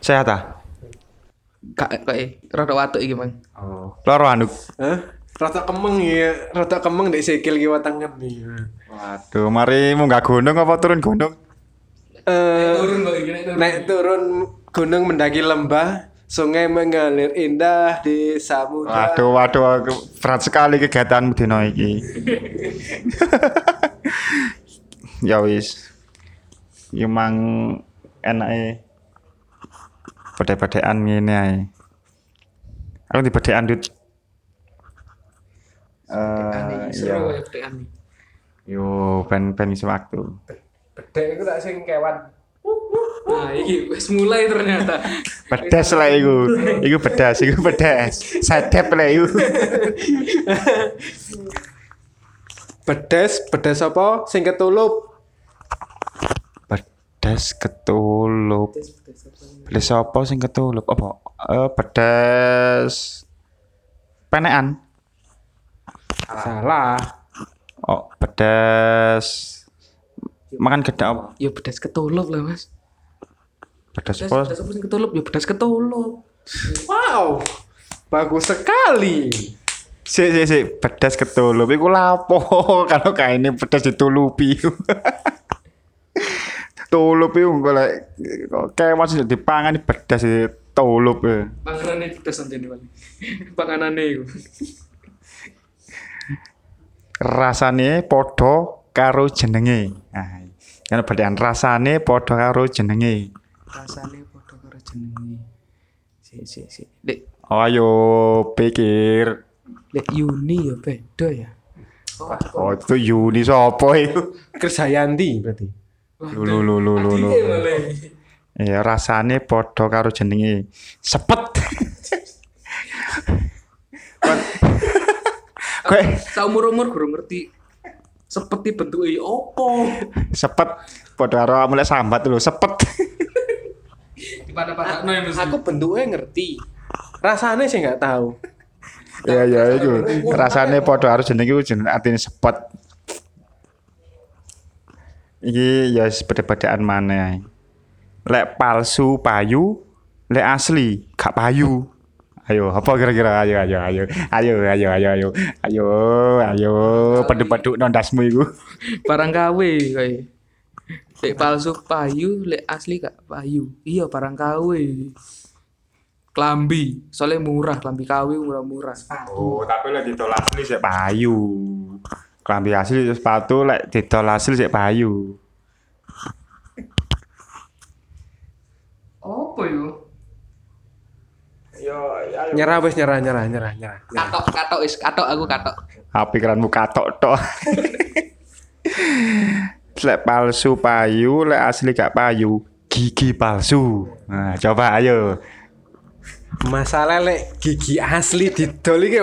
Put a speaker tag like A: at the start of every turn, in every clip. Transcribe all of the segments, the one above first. A: Sehat ah.
B: Kak kok eh rada watuk iki, Mang.
A: Loro anduk.
C: Hah? Rata kemeng ya, rata kemeng dek sikil kiwa iya. tangan nih.
A: Waduh, mari munggah gunung apa turun gunung?
C: Eh,
B: Turun kok iki nek turun.
C: naik turun gunung mendaki lembah, sungai mengalir indah di samudra.
A: Waduh, waduh, aku berat sekali kegiatanmu dino iki. ya wis. Ya Emang enake bedhe-bedhean ngene ae. Aku di bedhean dit. Eh, iya.
B: Seru ya, kok pedekan.
A: Yo, ben ben isi waktu.
C: Bedek itu tak sing kewan.
B: Nah, iki wis mulai ternyata.
A: Pedes lah iku. Iku pedes, iku pedes. Sedep lah iku.
C: Pedes, pedes apa? Sing ketulup.
A: Pedes ketulup. Pedes apa sing ketulup? Apa? Eh pedes penekan.
C: Salah.
A: Oh, pedes makan gedak apa?
B: Ya pedas ketulup lah, Mas.
A: Pedes
B: Pedas
A: apa?
B: pedas apa sing ketulup? Ya pedas ketulup.
C: Wow. Bagus sekali.
A: Sik sik sik, pedes ketulup. Iku lapo kalau kae ini pedes ditulupi. tulup iku engko lek kewan sing dipangan pedes ditulup. ya.
B: Panganane pedas anjene, Mang. Panganane iku.
A: rasane podo karo jenenge. Nah, kan bedaan rasane podo karo jenenge.
B: Rasane padha karo jenenge. Sik sik sik. Dek,
A: Ayo pikir.
B: Lek Yuni ya beda ya.
A: Oh,
B: Oh,
A: itu Yuni sopo itu?
C: Kersayanti berarti.
A: Lu lu lu lu lu. lu. Iya, rasane podo karo jenenge. Sepet. Kowe
B: Saumur umur guru ngerti seperti bentuke ya opo.
A: sepet podo karo mulai sambat lho, sepet.
B: Di pada-pada no ya mesti.
C: Aku bentuknya ngerti. Rasanya sih nggak tahu.
A: Iya iya iku. Rasane padha harus jenenge iku jeneng artine sepet. Iki ya sepeda-pedaan maneh ae. Lek palsu payu, lek asli gak payu. Ayo, apa kira-kira? Ayo, ayo, ayo, ayo, ayo, ayo, ayo, ayo, ayo, peduk-peduk nondasmu iku.
B: Barang kawe kae. Lek palsu payu, lek asli gak payu. Iya barang kawe. Klambi, soalnya murah, klambi kawe murah-murah.
A: Oh, tapi lek didol asli sik payu. Klambi asli ya sepatu lek didol asli sik payu.
B: Opo yo?
C: Nyerah wes nyerah nyerah nyerah nyerah.
B: Katok, katok is, katok aku katok.
A: Apa pikiranmu katok tok. lek palsu payu, lek asli gak payu, gigi palsu. Nah, coba ayo.
C: Masalah lek gigi asli didol iki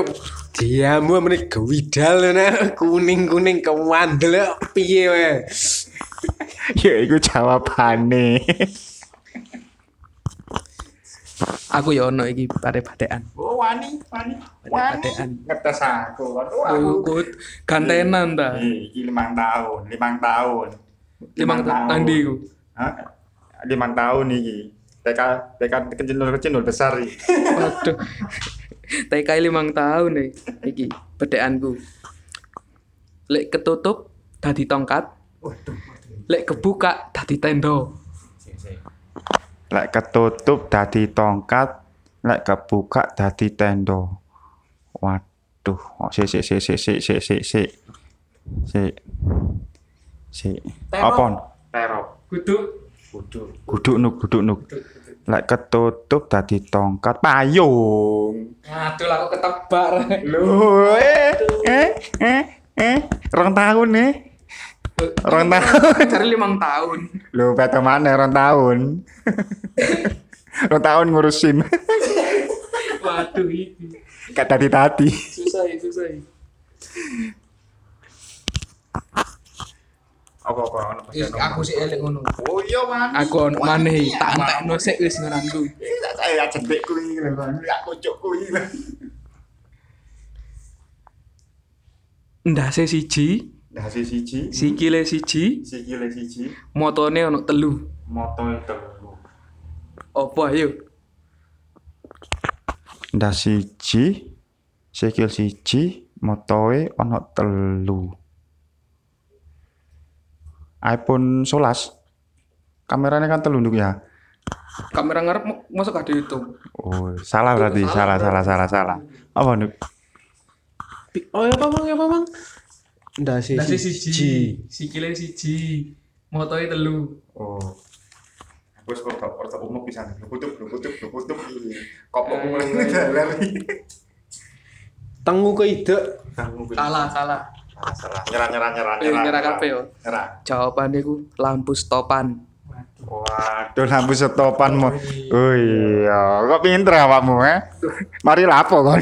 C: diamu meneh gewidal ngono kuning-kuning kewandel piye wae.
A: Ya iku jawabane.
B: Aku ya ono iki pare batekan.
A: Oh, wani, wani.
B: Batekan.
A: Ngetes aku.
B: Aku kut gantenan ta.
A: Iki limang tahun, limang tahun.
B: Limang tahun Andi ku.
A: Hah? Limang tahun iki. TK, TK kecil kecil besar iki.
B: Waduh. TK limang tahun nih, iki bedeanku. Lek ketutup dadi tongkat. Lek kebuka dadi tendo.
A: lek ketutup dadi tongkat lek kebuka dadi tendo waduh oh sik sik sik sik sik sik sik sik sik sik apon
B: Kudu
A: guduk nuk guduk nuk lek ketutup dadi tongkat payung
B: Aduh lah kok ketebak.
A: lho eh eh eh eh rong tahun nih rong tahun
B: Cari limang tahun.
A: lho beto mana rong tahun rong tahun ngurus SIM
B: Waduh iki.
A: gak tadi tadi
B: Susah iki, susah iki.
A: apa apa ono
B: Wis, Aku sih elek ngono.
A: Oh iya man.
B: Aku ono maneh tak entekno sik wis ngoranku.
A: Saya cedek kuwi lho, man. aku cuk kuwi lho.
B: Ndase siji,
A: Dasi siji,
B: Siki le siji,
A: sikile siji,
B: motone ono telu.
A: motoe telu.
B: Apa ayo?
A: Ndas siji, sikil siji, motoe ono telu. iPhone 11 kameranya kan telunduk ya.
B: Kamera ngarep mo- mosok gak dihitung.
A: Oh, salah berarti, salah, salah, salah, salah. Apa Nuk?
C: Oh ya apa bang, ya apa bang? Ndak sih.
B: Dasi siji, sikile siji, motone telu.
A: Oh. Wis kok tak ora umum pisan. Kutup, kutup, kutup. Kopok mulai dalan.
C: Tengu ke ide.
B: Salah, salah.
A: Salah. Nyerah, nyerah, nyerah,
B: Eh, nyerah kabeh yo.
A: Nyerah.
B: Jawabannya ku lampu stopan.
A: Waduh, lampu setopan mau. Oh iya, kok pinter awakmu eh? Mari lapo kon.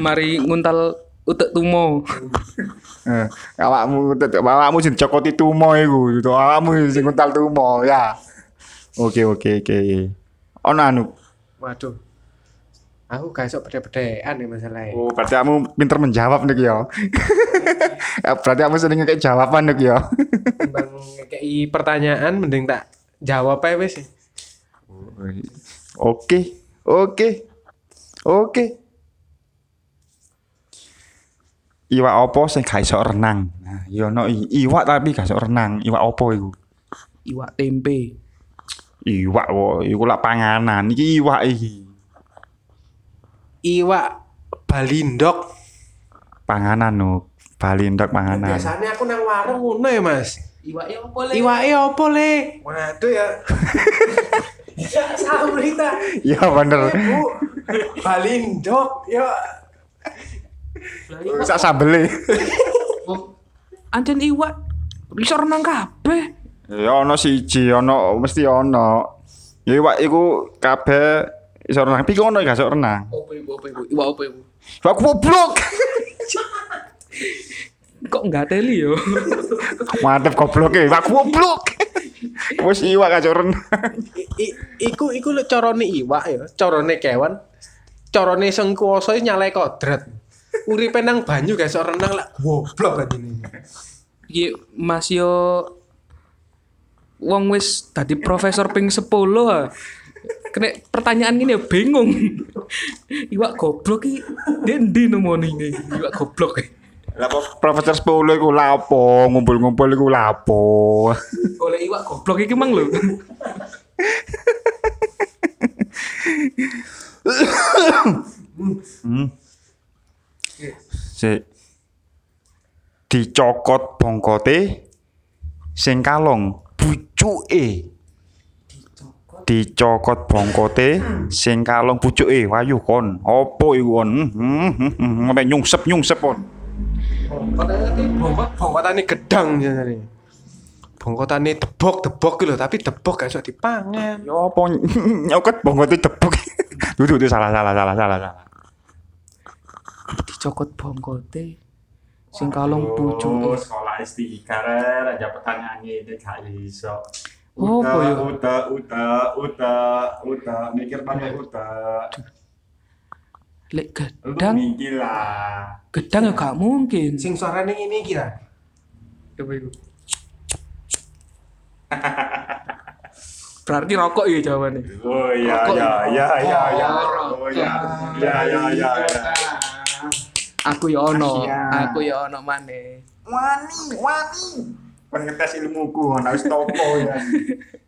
B: Mari nguntal utek tumo.
A: Eh, awakmu tetep awakmu sing cokoti tumo iku, gitu. awakmu sing nguntal tumo ya. Oke, oke, oke. Ono anu.
C: Waduh. Aku gak esok beda-bedaan ya masalahnya.
A: Oh, berarti kamu pinter menjawab nih ya. Ya, berarti kamu sering ngekek jawaban nih ya.
C: Bang ngekei pertanyaan mending tak jawab aja wis.
A: Oke, oke, oke. Iwak opo sing gak iso renang? Nah, ya ono i- iwak tapi gak iso renang. Iwak opo iku?
B: Iwak tempe.
A: Iwak wo, iku lak panganan. Iki iwak iki.
C: Iwak balindok.
A: Panganan no. Balindok panganan.
C: Biasanya aku nang warung ngono ya, Mas.
B: Iwaknya apa le?
C: Iwake opo, Le? Waduh ya. ya sabri ta.
A: Iya bener.
C: Eh, Bu, balindok ya.
A: Sak sambele.
B: Oh. Anjen iwak bisa renang kabeh.
A: Ya ono siji, ono mesti ono. Ya iwak iku kabeh iso renang. Piye ono gak iso renang?
B: Apa iku apa iku? Iwak apa iku?
A: Iwak goblok.
B: Kok nggak teli yo?
A: Mantep goblok ya, Pak goblok. Wis iwak aja renang.
C: I, i- iku iku lek carane iwak ya, carane kewan. Carane sing kuwasa nyalai kodrat. Uripe nang banyu gak iso renang lak goblok ini.
B: Iki Mas yo wong wis dadi profesor ping 10 ha. Kena pertanyaan gini ya bingung. Iwak goblok iki dia endi nemoni ini? Iwak goblok. ya.
A: Lah po- Profesor 10 iku lapo, ngumpul-ngumpul iku lapo.
B: Oleh iwak goblok iki mang lho.
A: Sik. Dicokot bongkote sing kalong pucuke. Dicokot bongkote sing kalong pucuke. Wayu kon, opo iku kon? Hmm, hmm, hmm, hmm, Sampe nyungsep-nyungsep kon.
C: Bongkot bongkotane gedang jane. Bongkotane debok-debok ki lho, tapi debok gak iso dipangan.
A: Ya opo nyokot bongkote debuk. Dudu itu salah salah salah salah salah.
B: Dicokot bongkote sing kalong pucuke.
A: sekolah S3 karer aja pertanyaan ini gak iso.
B: Oh, apa ya?
A: uta, uta, uta, uta, mikir banyak uta.
B: Lek
A: Lu
B: gedang
A: mikir lah.
B: Gedang ya gak mungkin.
C: Sing suarane ngene iki lah.
B: Berarti rokok iya jawabannya.
A: Oh ya
B: Rokok.
A: ya ya ya ya.
B: Rokok.
A: Oh ya ya ya ya. ya.
B: Aku ya ono,
A: Iya.
B: aku ya ono mana.
A: Wani, wani. Kon ngetes ilmuku, ana wis topo ya.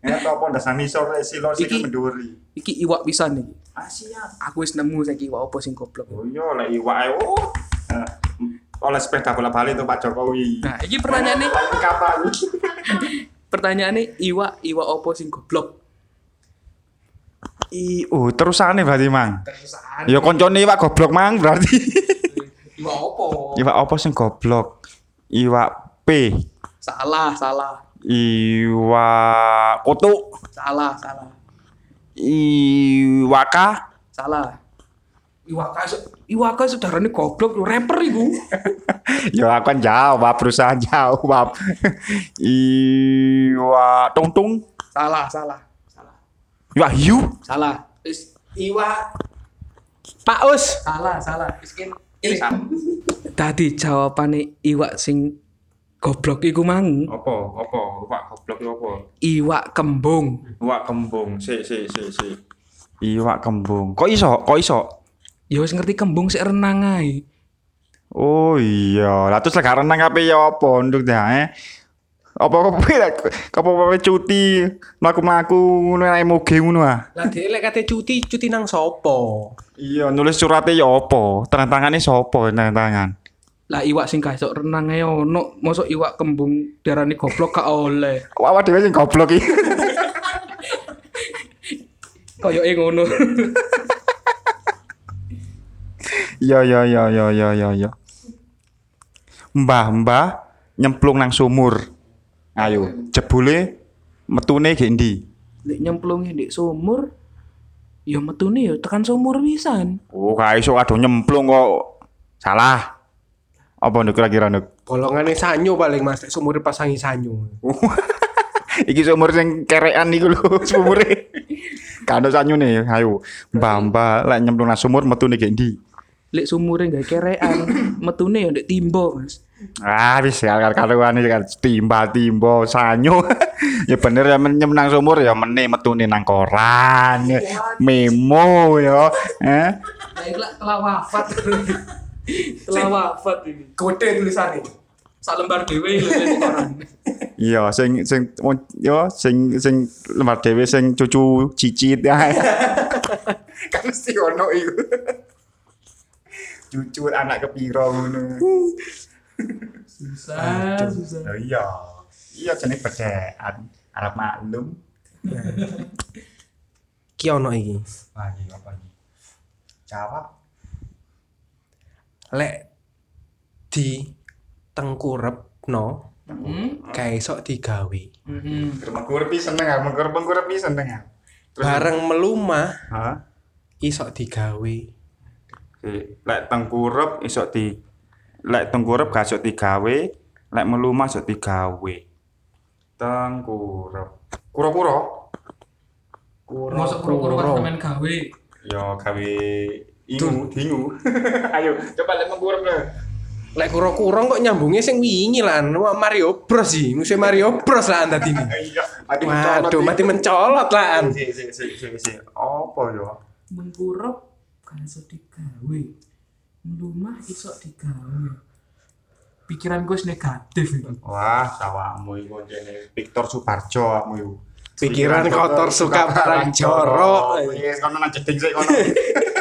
A: Ya topo dasar misor silon sing
B: Iki-
A: menduri.
B: Iki iwak pisan nih.
A: Asia.
B: Aku wis nemu saiki iwak apa sing goblok.
A: Oh iya, lek iwak ae, oh. Eh, Oleh sepeda bola balik tuh Pak Jokowi.
B: Nah, iki pertanyaannya,
A: Tapi kapan?
B: pertanyaannya iwak iwak apa sing goblok?
A: I, oh terusane berarti mang. Terusane. Ya koncone iwak goblok mang berarti.
B: Iwak apa?
A: iwak apa sing goblok? Iwak P.
B: Salah, salah,
A: Iwak kutu.
B: salah, salah,
A: Iwaka.
B: salah. Iwaka, se- iwaka saudaranya goblok, lu rapper iku.
A: ya aku kan jawab berusaha jawab. Iwak tungtung.
B: Salah, salah, salah,
A: Iwak hiu.
B: salah. Is-
C: Iwak Pak Us.
B: salah, salah. Is- in- ini. tadi jawabane iwak sing goblok iku mang
A: Apa? Apa? Iwak goblok itu apa?
B: iwak kembung
A: Iwak kembung. Si, si, si, si. Iwak kembung. Kok iso? Kok iso?
B: ya wis ngerti kembung sik renang ae
A: Oh iya. Lah terus lek gak renang apa ya apa nduk dae. Apa kok kowe lek apa kowe cuti mlaku-mlaku ngono nek moge ngono ah.
C: Lah dhek lek kate cuti, cuti nang sopo?
A: Iya, nulis curate ya apa? Tanda tangane sapa tanda tangan?
B: lah iwak sing gak iso renang ae ono mosok iwak kembung darani goblok gak oleh
A: Awak dhewe sing goblok iki.
B: koyoke ngono
A: Iya iya iya iya iya iya iya. Mbah-mbah nyemplung nang sumur. Ayo, jebule metune gek ndi?
B: nek nyemplunge ndek sumur ya metune ya tekan sumur pisan
A: Oh, gak iso aduh nyemplung kok. Salah. Apa nduk kira-kira nduk?
C: Golongane sanyo paling Mas, lek sumure pasangi sanyo.
A: Iki sumur sing kerekan iku lho, sumure. Kado sanyune ayo. Mbah-mbah lek nyemplung nang sumur metune gek ndi?
B: lek sumure gak kerean metune ya ndek timbo Mas
A: Ah, wis ya karuan iki kan timba-timba sanyo. ya bener ya men- menang sumur ya meni metune nang koran. Memo ya. Eh,
B: Nah, itu lah telah wafat. telah wafat ini.
C: Gede tulisane.
B: Sak lembar dhewe lho ini koran.
A: iya sing sing wong- yo sing sing lembar dhewe sing cucu cicit ya. kan mesti ono iku. Cucu anak kepiro ngono.
B: Susah, susah.
A: Lah iya. Iya jenenge bedaan. Arab maklum.
C: Ki ono iki.
A: Wah, iya apa iki? Jawab.
C: Lek di tengkurep no,
B: Hmm.
C: kae sok digawe.
B: Hmm.
A: Mengkurpi seneng ah, mengkur mengkurpi seneng ah.
C: Bareng melumah
A: Hah?
C: isok digawe.
A: Lek tengkurep iso di lek tengkurep gak iso digawe, lek melumah iso digawe. Tengkurep. Kura-kura. Kura.
B: Mosok kuru-kuru kan temen gawe.
A: Ya gawe ingu, dingu. Ayo, coba lek mengkurep le.
C: Lek kura-kura kok nyambungnya sing wingi lan Wah, Mario Bros sih, musim Mario Bros lah anda ini.
A: Iya,
C: Waduh, mati mencolot lah. An.
A: Si si si si si. Apa ya?
B: Mengkurep kan iso digawe. Melumah iso digawe. Pikiran gue negatif ini.
A: Wah, sawamu iku jene Victor Suparjo awakmu iku.
C: Pikiran kotor suka barang jorok.
A: Wis Iya, kono nang jeding sik kono.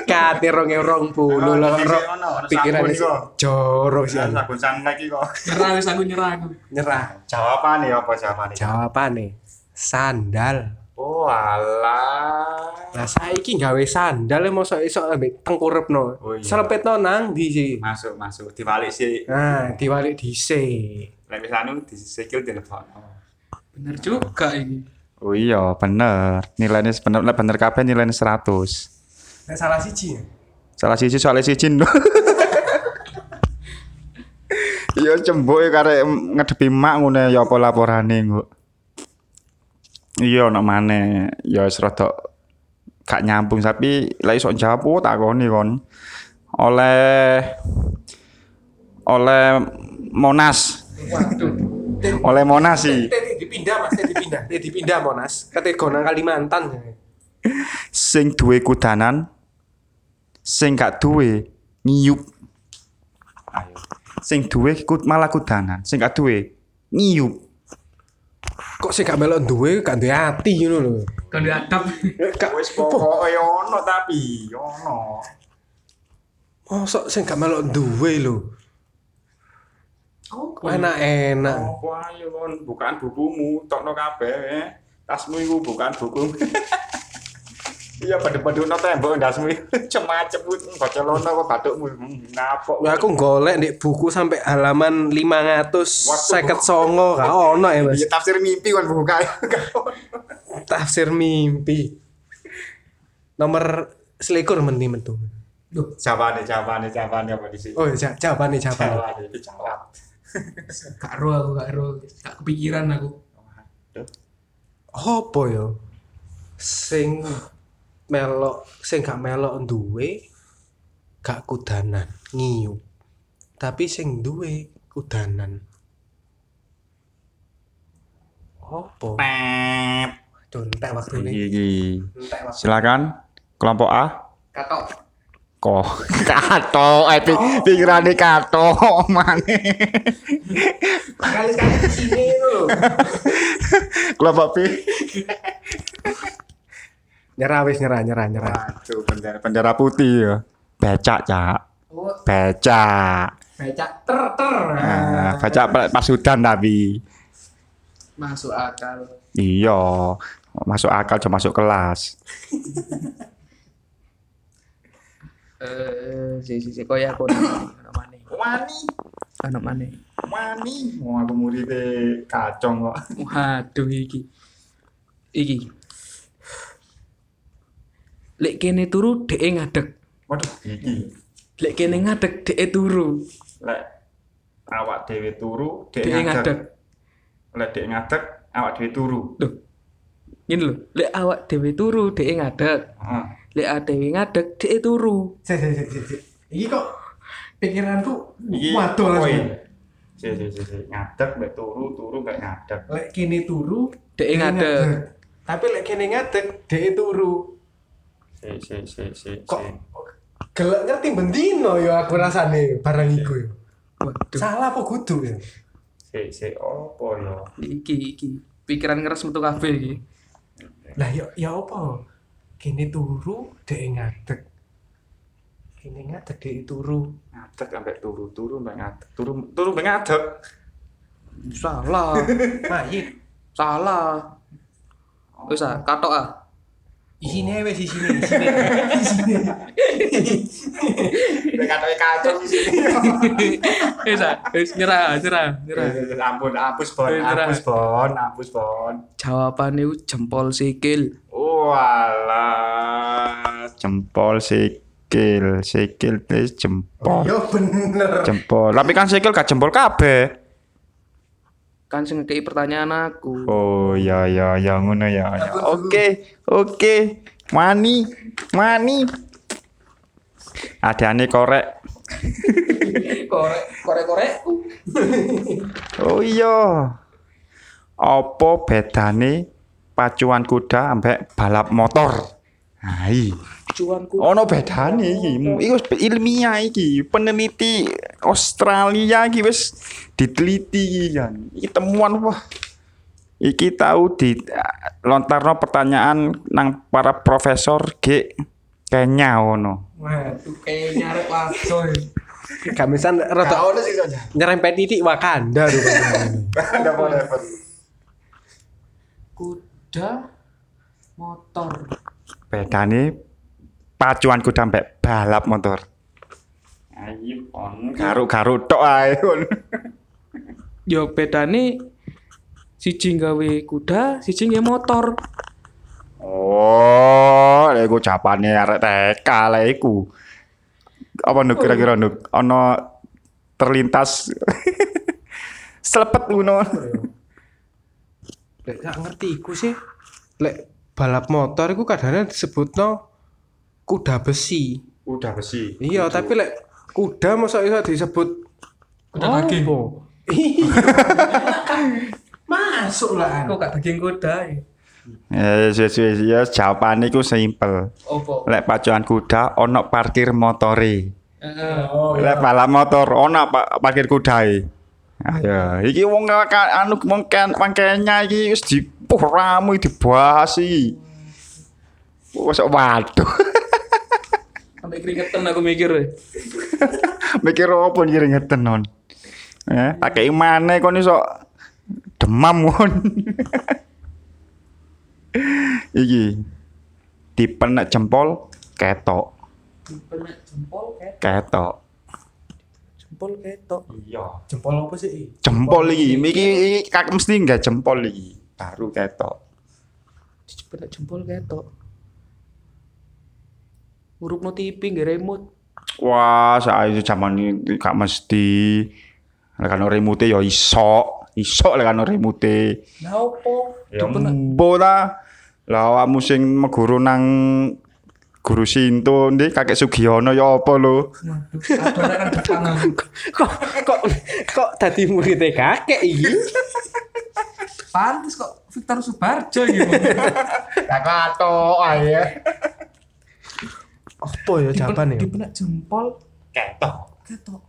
C: Kate rong ewu rong puluh lah
A: Ono,
C: ro.
A: ono, ono
C: Pikiran
A: sabun
C: sih
A: kok.
C: jorok sih.
A: Wis iya.
C: An.
A: aku santai iki kok.
B: Nyerah wis aku nyerah aku.
C: Nyerah.
A: Jawabane apa jawabane?
C: Jawabane sandal.
A: Oh, alah.
C: Nah saiki gawe sandal mosok iso ambek tengkurep no.
A: Oh, iya.
C: Selepetno nang ndi sih?
A: Masuk, masuk. Dibalik sih.
C: Nah, diwalik dhisik.
A: Lek wis anu disikil dilebokno.
B: Bener juga ini.
A: Oh iya, bener. Nilainya bener, lek bener kabeh nilainya 100.
C: Nek salah siji ya.
A: Salah siji soalnya siji. lho. Iya cemboke karek ngedepi mak ngono ya apa laporane, Nguk. Iya nek maneh ya wis rada gak nyambung tapi lek iso jawab oh, takoni kon. Oleh oleh Monas.
C: Waduh.
A: Oleh Monas sih.
C: Tadi dipindah Mas, tadi dipindah. Tadi dipindah Monas. Kategori nang Kalimantan.
A: Sing duwe kudanan sing gak duwe ngiyup. Ayo. Sing duwe kud malah kudanan, sing gak duwe ngiyup.
C: Kok sing gak melok duwe gak duwe ati ngono lho.
B: Kan diadap.
C: Gak
A: Eh, Wis pokoke ono tapi ono.
C: mosok sing gak melok duwe lho.
B: Oh,
C: Enak-enak.
A: Apa ayo kon bukaan bukumu, tokno kabeh. eh. Tasmu iku bukaan bukumu. Iya pada-pada ono tembok ndasmu. Cemacem bocolono kok Hmm, batukmu. Ngapok.
C: Wah, aku golek ndek buku sampai halaman 559 gak ono ya Mas.
A: Iya tafsir mimpi kon buka.
C: Tafsir mimpi. Nomor selikur meni metu.
B: Duh,
A: Jawane jawane jawane apa di sini?
C: Oh, ja- jawabannya jawabannya.
A: Jawane itu jawab.
B: gak ro aku, gak ro. Gak kepikiran aku.
C: apa ya sing melok sing gak melok duwe gak kudanan ngiyu tapi sing duwe kudanan opo
A: Pep.
C: contek waktu ini
A: Iki.
C: entek waktu
A: Silakan kelompok A.
C: katok
A: Ko kato, eh pi- pikirane kato mane.
C: kali kali di sini lo
A: Kelompok B.
C: nyerah wis nyerah nyerah nyerah
A: Aduh, bendera bendera putih ya. Becak, Cak. Becak.
B: Oh, becak ter ter
A: Nah, becak pe- pasudan tapi.
B: masuk akal
A: Iya. Masuk akal cuma masuk kelas.
B: eh si si si koyo aku anak mana
A: Wani,
B: anak mana
A: wani. Mau aku muridnya kacong kok.
B: waduh iki iki lek kene turu dhek ngadeg
A: Waduh, iki.
B: lek kene ngadeg dhek turu
A: Lek awak dhewe turu, dhek
B: dhek
A: ngadeg.
B: ngadeg
A: Lek dhek ngadeg, awak dhewe turu.
B: Loh. Ngene lho, lek awak dhewe turu dhek ngadeg.
A: Heeh.
B: Lek awak dhewe ngadeg dhek turu.
C: sih sih sih sih ini kok pikiranku
A: Iki poin.
C: waduh langsung
A: Si si si si ngadeg mbek turu, turu mbek ngadeg.
C: lek kene turu
B: Dek
C: dek
B: ngadeg.
C: tapi lek kene ngadeg dek turu
A: Si si si si.
C: kok
A: si.
C: gelek ngerti bendino yo aku rasane barang iku yo
B: Waduh,
C: salah apa kudu ya? yo
A: Si si opo ya?
B: iki iki pikiran ngeres metu kabeh iki.
C: lah yo ya apa kene turu dek ngadeg kene ngadeg dek turu
A: Ngadeg kan mbek turu, turu mbek ngadeg. Turu turu mbek ngadeg.
B: Salah.
C: mayit
B: Salah. Wis ah, katok ah.
C: isine wis isine isine isine
A: Mbek katoke kacong di sini.
B: Wis ah, wis nyerah, nyerah, nyerah.
A: Ampun, hapus bon,
B: Eh, nyerah.
A: hapus bon, hapus bon.
B: Jawabane ku jempol sikil.
A: Walah, jempol sikil, sikil terus jempol,
C: yo Ya bener
A: jempol. Tapi kan sikil gak jempol kabeh.
B: Kan sing ngekeki pertanyaan aku.
A: Oh ya ya ya ngono ya. ya. Oke oke. Mani mani. Adane korek.
B: Korek, korek-korek.
A: Oh iya. Apa bedane pacuan kuda ambek balap motor? Hai.
B: Cuanku.
A: Ono bedane iki. Iku wis ilmiah iki. Peneliti Australia iki wis diteliti iki kan. Iki temuan wah. Iki tahu di lontarno pertanyaan nang para profesor G Kenya ono.
B: Waduh, kayak nyarek langsung.
C: kamisan rada ono sih nyerempet titik Wakanda rupanya
B: Kuda motor.
A: Bedane pacuan kuda mbek balap motor. Ayo on garuk-garuk tok ae.
B: ya bedane siji gawe kuda, siji gawe motor.
A: Oh, lek iku japane arek TK lek iku. Apa nduk kira-kira nduk ana terlintas selepet ngono.
C: lek gak ngerti iku sih lek balap motor iku kadang disebutno kuda besi
A: Udah besi.
C: iya tapi lek kuda masa iso disebut
B: Kuda daging.
C: Apa? masuk lah
B: Kok gak daging kuda? eh.
A: Ya yes, yes, yes, yes. jawabane iku simpel.
B: Opo?
A: Lek pacuan kuda ono parkir motore.
B: Heeh.
A: Lek balap motor ono pa parkir kudae. Ayo, iki wong ka- ka- anu wong kan wong Kenya iki wis dipuh ramu dibahas iki. Wes waduh.
B: Sampai keringetan aku mikir. eh.
A: mikir apa ngiring ngeten non ya pakai mana kon iso demam kon iki dipenek jempol ketok
B: Pernah jempol kayak
A: ketok
B: jempol ketok.
A: iya
C: jempol apa sih
A: jempol iki iki iki kak mesti nggak jempol iki baru ketok
B: Pernah jempol ketok. Huruf no TV nggak remote.
A: wah saya ah, itu zaman ini gak mesti lekano remote ya iso iso lekano remote
B: Lah opo?
A: Ya
B: Dipenek-
A: mbo ta. Lah awakmu sing meguru nang guru Sinto ndek kakek Sugiono ya apa lho
C: kok kok kok tadi muridnya kakek iki
B: Pantes kok Victor Subarjo gitu.
C: kakek atok ae apa ya jawaban ya
B: Dipenak jempol
C: ketok
B: ketok.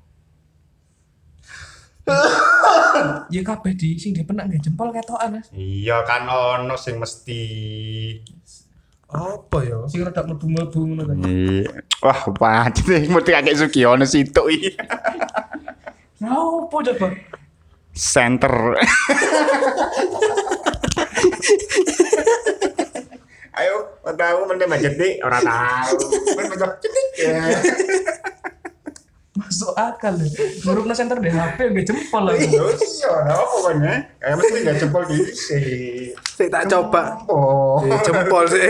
B: ya kabeh di sing dipenak nggih jempol ketokan, Mas.
A: iya kan ono sing mesti
C: apa ya
B: Sing rada mlebu-mlebu ngono kan.
A: Iya. wah pancen mesti kakek Sugiono Sinto iki
B: Ya opo coba?
A: center ayo tahu mending majetik orang tahu ya.
B: Masuk akal lho. Ngurupna center di HP nggih jempol lho.
A: iya apa kan ya kayak mesti nggak jempol di
C: saya tak coba
A: jempol
C: Eh, jempol sih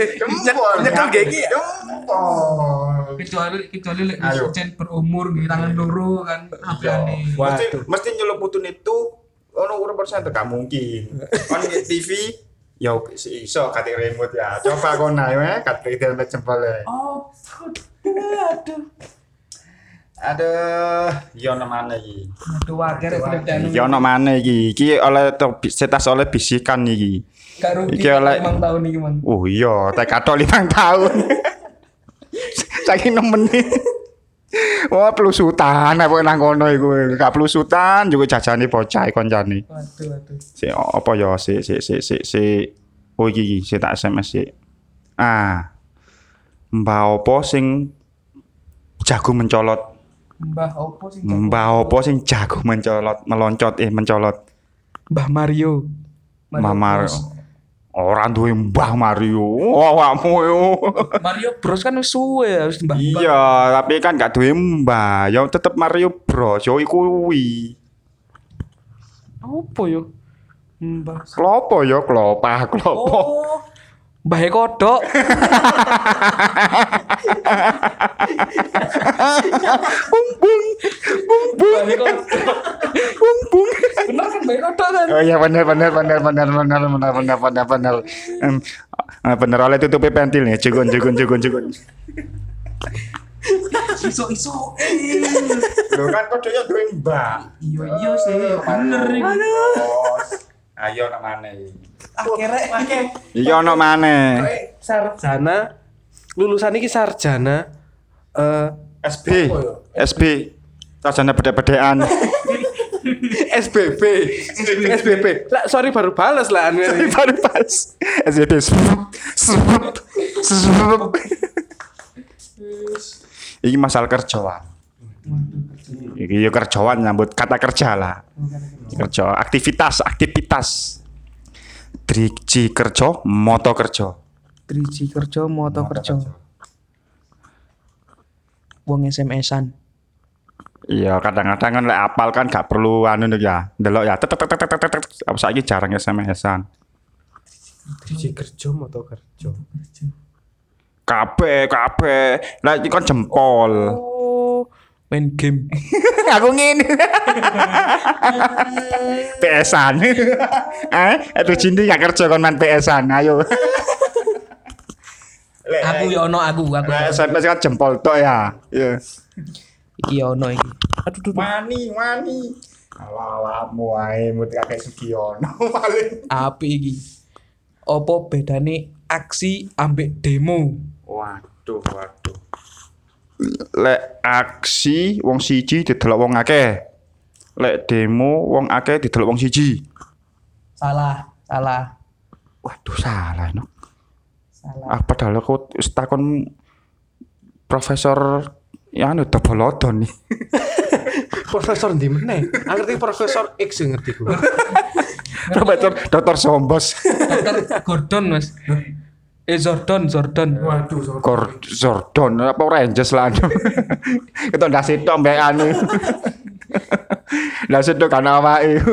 C: nyekel kayak gini
A: jempol
B: Kecuali kecuali lek
A: Ayo.
B: cen berumur nggih tangan loro kan HP-ane.
A: mesti
C: Waduh.
A: mesti nyeluputun itu ono urut center gak mungkin on TV ya si iso katik remote ya coba kon ayo ya katik dalam jempolnya
B: Oh, aduh.
A: Aduh, ya ono mana iki?
B: Aduh, wakil penelitian.
A: Ya ono mana iki? Iki oleh to- setas oleh bisikan iki.
B: Gak rugi
A: Iki oleh-
B: emang tahun ini, Mang.
A: Oh iya, tak kato limang tahun. Saiki nemen iki. Wah, pelusutan apa nang kono iku. Gak pelusutan juga jajane bocah koncane.
B: Waduh, waduh.
A: Si apa ya si si si si si oh iki iki, si tak SMS si. Ah. Mbah opo sing jago mencolot?
B: Mbah opo sih?
A: Mbah opo sing jago mencolot, meloncat eh mencolot?
B: Mbah Mario.
A: Mbah Mario.
B: Bros.
A: Orang duwe Mbah Mario. Oh, awakmu yo.
B: Mario Bros kan wis suwe harus Mbah.
A: Iya, tapi kan gak duwe Mbah. Ya tetep Mario Bros. Yo iku kuwi.
B: Opo yo? Mbah.
A: Klopo yo klopah klopo.
B: Oh. Mbah e kodok.
A: Bung
B: Mbah e kodok.
A: bung bung.
B: Bener kan Mbah e kodok kan?
A: Oh iya bener bener bener bener bener bener bener bener bener. Em, eh, bener oleh tutupi pentil nih. Cukup cukup cukup cukup.
B: Iso-iso.
A: Lho kan kodoknya duwe Mbah.
B: Iya iya sih, bener iku.
A: Ayo nang mana
B: Akhirnya
A: Iya ono maneh.
C: eh, sarjana lulusan iki sarjana eh
A: SB. SB. Sarjana bedek-bedekan.
C: SBB SBB lah sorry baru balas lah anu
A: Ini baru pas. SBB. Srup, srup, srup. Ini masalah kerjaan. Iki yo kerjaan nyambut kata kerja lah. Kerja, aktivitas, aktivitas. Driji kerja, moto kerja.
B: Driji kerja, moto kerja. Wong SMS-an.
A: Iya, kadang-kadang kan lek apal kan gak perlu anu nih ya. Delok ya. Tet tet tet tet tet. tet. Apa saiki jarang SMS-an.
C: Driji kerja moto kerja
A: Kabeh, kabeh. Lah iki kan jempol.
B: Oh, main game.
A: aku ngene. PS-an. eh, aduh Cindy gak kerja kon main PS-an. Ayo.
B: aku ya ono aku, aku.
A: Lah SMS kan jempol tok ya. Iya.
B: Iki ya ono iki. Aduh, duh, duh.
A: Wani, wani. Alamu ae mut kakek Sugiono paling.
B: api iki. Apa bedane aksi ambek demo?
A: Waduh, waduh. Lek aksi wong siji didelok wong akeh. Lek demo wong akeh didelok wong siji.
B: Salah, salah,
A: Waduh, salah no.
B: salah.
A: Ah, padahal aku wis takon profesor ya anu Dabolodon nih.
C: profesor di mana aku ngerti profesor X yang ngerti gue
A: profesor Dr. Sombos.
B: Dokter Gordon, Mas. Eh Jordan, Jordan. Waduh,
A: Gor- Zordon apa Rangers lah anu. Kita ndak sitok mbek anu. Ndak sitok kan awake.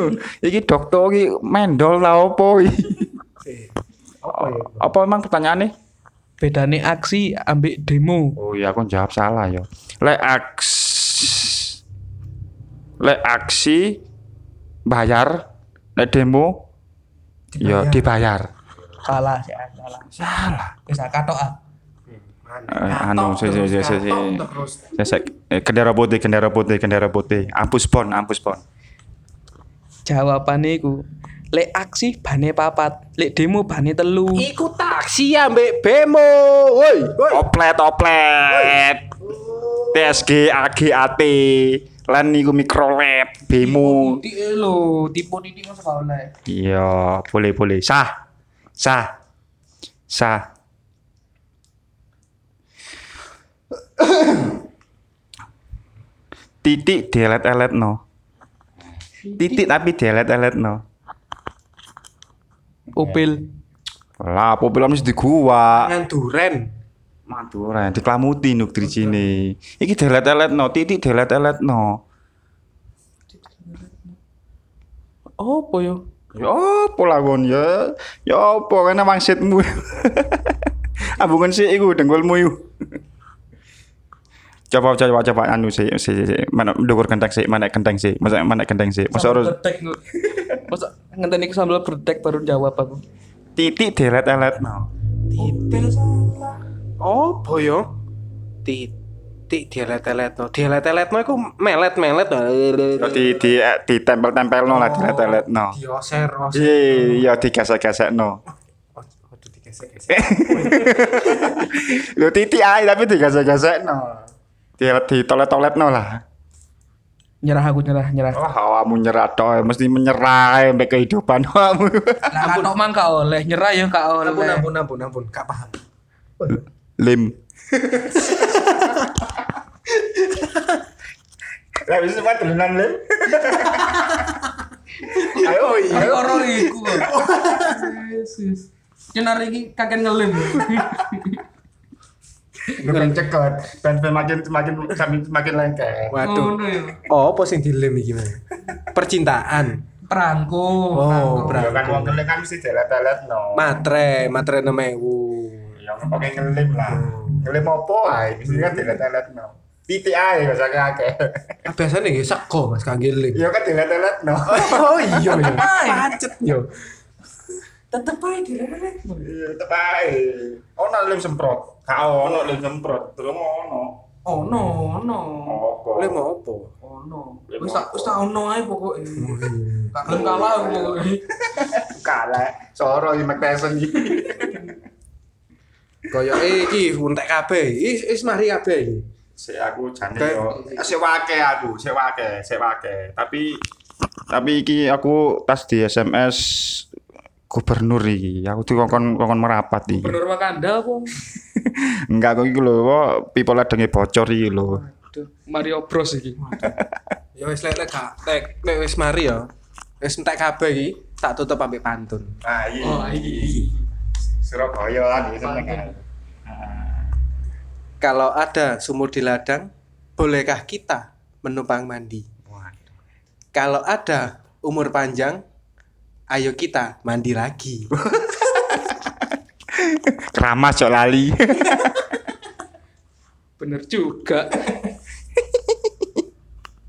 A: Iki dokter iki mendol lah opo iki?
C: Eh, apa ya
A: Apa emang pertanyaannya?
B: Bedane aksi ambek demo.
A: Oh iya aku jawab salah ya. Lek aks Lek aksi bayar, lek demo ya dibayar.
B: Salah, saya salah.
A: Salah.
B: Wis ah, katok ah.
A: Eh, anu si si si si si si si eh, kendara putih kendara putih kendara putih ampus pon ampus pon
B: Jawabane iku. Lek aksi bane papat, lek demo bane telu.
C: Iku taksi ya, ambek bemo. Woi, woi.
A: oplet oplet TSG AGAT lan niku mikrolet bemo
B: Tipe lo, tipe ini kok gak oleh.
A: iya boleh boleh sah sah sah titik dielet-elet no titik tapi dielet-elet no
B: Opel.
A: Lah, apa film mesti di gua.
C: Pangan duren.
A: Madura, diklamuti nuk drijine. Iki delet-eletno, titik delet-eletno.
B: Opo yo?
A: Ya apa lagon ya? Ya apa kena wangsitmu. Ambungan sih iku dengkulmu iku. coba coba coba anu sih sih sih mana dukur kentang sih mana kentang sih masa mana kentang sih masa harus
B: Berdek kok. Masa ngenteni ku sambal berdek baru jawab aku.
A: titik delet eletno
C: Opo yo? ya? Titik dielet-eletno. Dielet-eletno iku melet-melet.
A: di di di tempel tempel no lah delet eletno
C: Dioser-oser.
A: iya di gesek gesek no
C: Aduh digesek-gesek.
A: Lho titik ae tapi digesek-gesekno. Di di tolet-toletno lah.
B: Nyerah aku nyerah, nyerah.
A: Wah, awakmu nyerah toh, mesti menyerah ae mbek kehidupan awakmu.
B: Lah kok mang gak oleh, nyerah yo gak
C: Ampun,
B: oleh.
C: ampun, ampun, ampun. Gak paham.
A: Lim. Lah wis sempat telunan lim. Ayo iya.
B: Perkara iku. Yesus. Nyenar iki kakek ngelim.
A: Bukan cekot, ben ben makin makin semakin semakin lengket.
C: Waduh.
B: Ngono yo.
C: Oh, apa sing dilem iki, Mas? Percintaan.
B: Perangko.
C: Oh,
A: Ya kan wong
C: berarti.
A: ngelim kan mesti delet-deletno.
C: Matre, matre 6000.
A: Ya pakai ngelim lah. Ngelim opo ae, mesti kan delet-deletno. Titik ae bahasa akeh.
C: Ah, biasanya nggih sego Mas kangge lem.
A: Iya kan dilihat-lihat no.
C: Oh iya iya. Pacet yo.
B: Tetep ae diremeh.
A: Iya tepai. Ono lem semprot. Gak ono lem semprot. Durung ono.
B: Oh no, no.
A: Apa?
C: Lem apa?
B: Oh no. Wis tak wis tak ono ae pokoke. Gak gelem kalah aku pokoke.
A: kalah. Soro iki McPherson iki.
C: Koyoke iki untek kabeh. Is is mari kabeh iki.
A: Sik aku jane
C: Kayak-
A: yo. Ah, Sik wake aku, sik wake, sik wake. Tapi tapi iki aku tas di SMS gubernur iki. Aku dikongkon kongkon merapat iki.
B: Bener Wakanda apa?
A: Enggak kok iki lho, kok pipa ledenge bocor iki lho.
B: Aduh, Mario Bros iki.
C: Ya wis lek lek gak lek lek wis mari yo. Wis entek kabeh iki tak tutup ambek pantun.
A: Nah, Ah, iya.
B: Oh, iki.
A: Surabaya lah iki seneng kan.
C: Kalau ada sumur di ladang, bolehkah kita menumpang mandi? Kalau ada umur panjang, ayo kita mandi lagi.
A: Keramas cok lali.
B: Bener juga.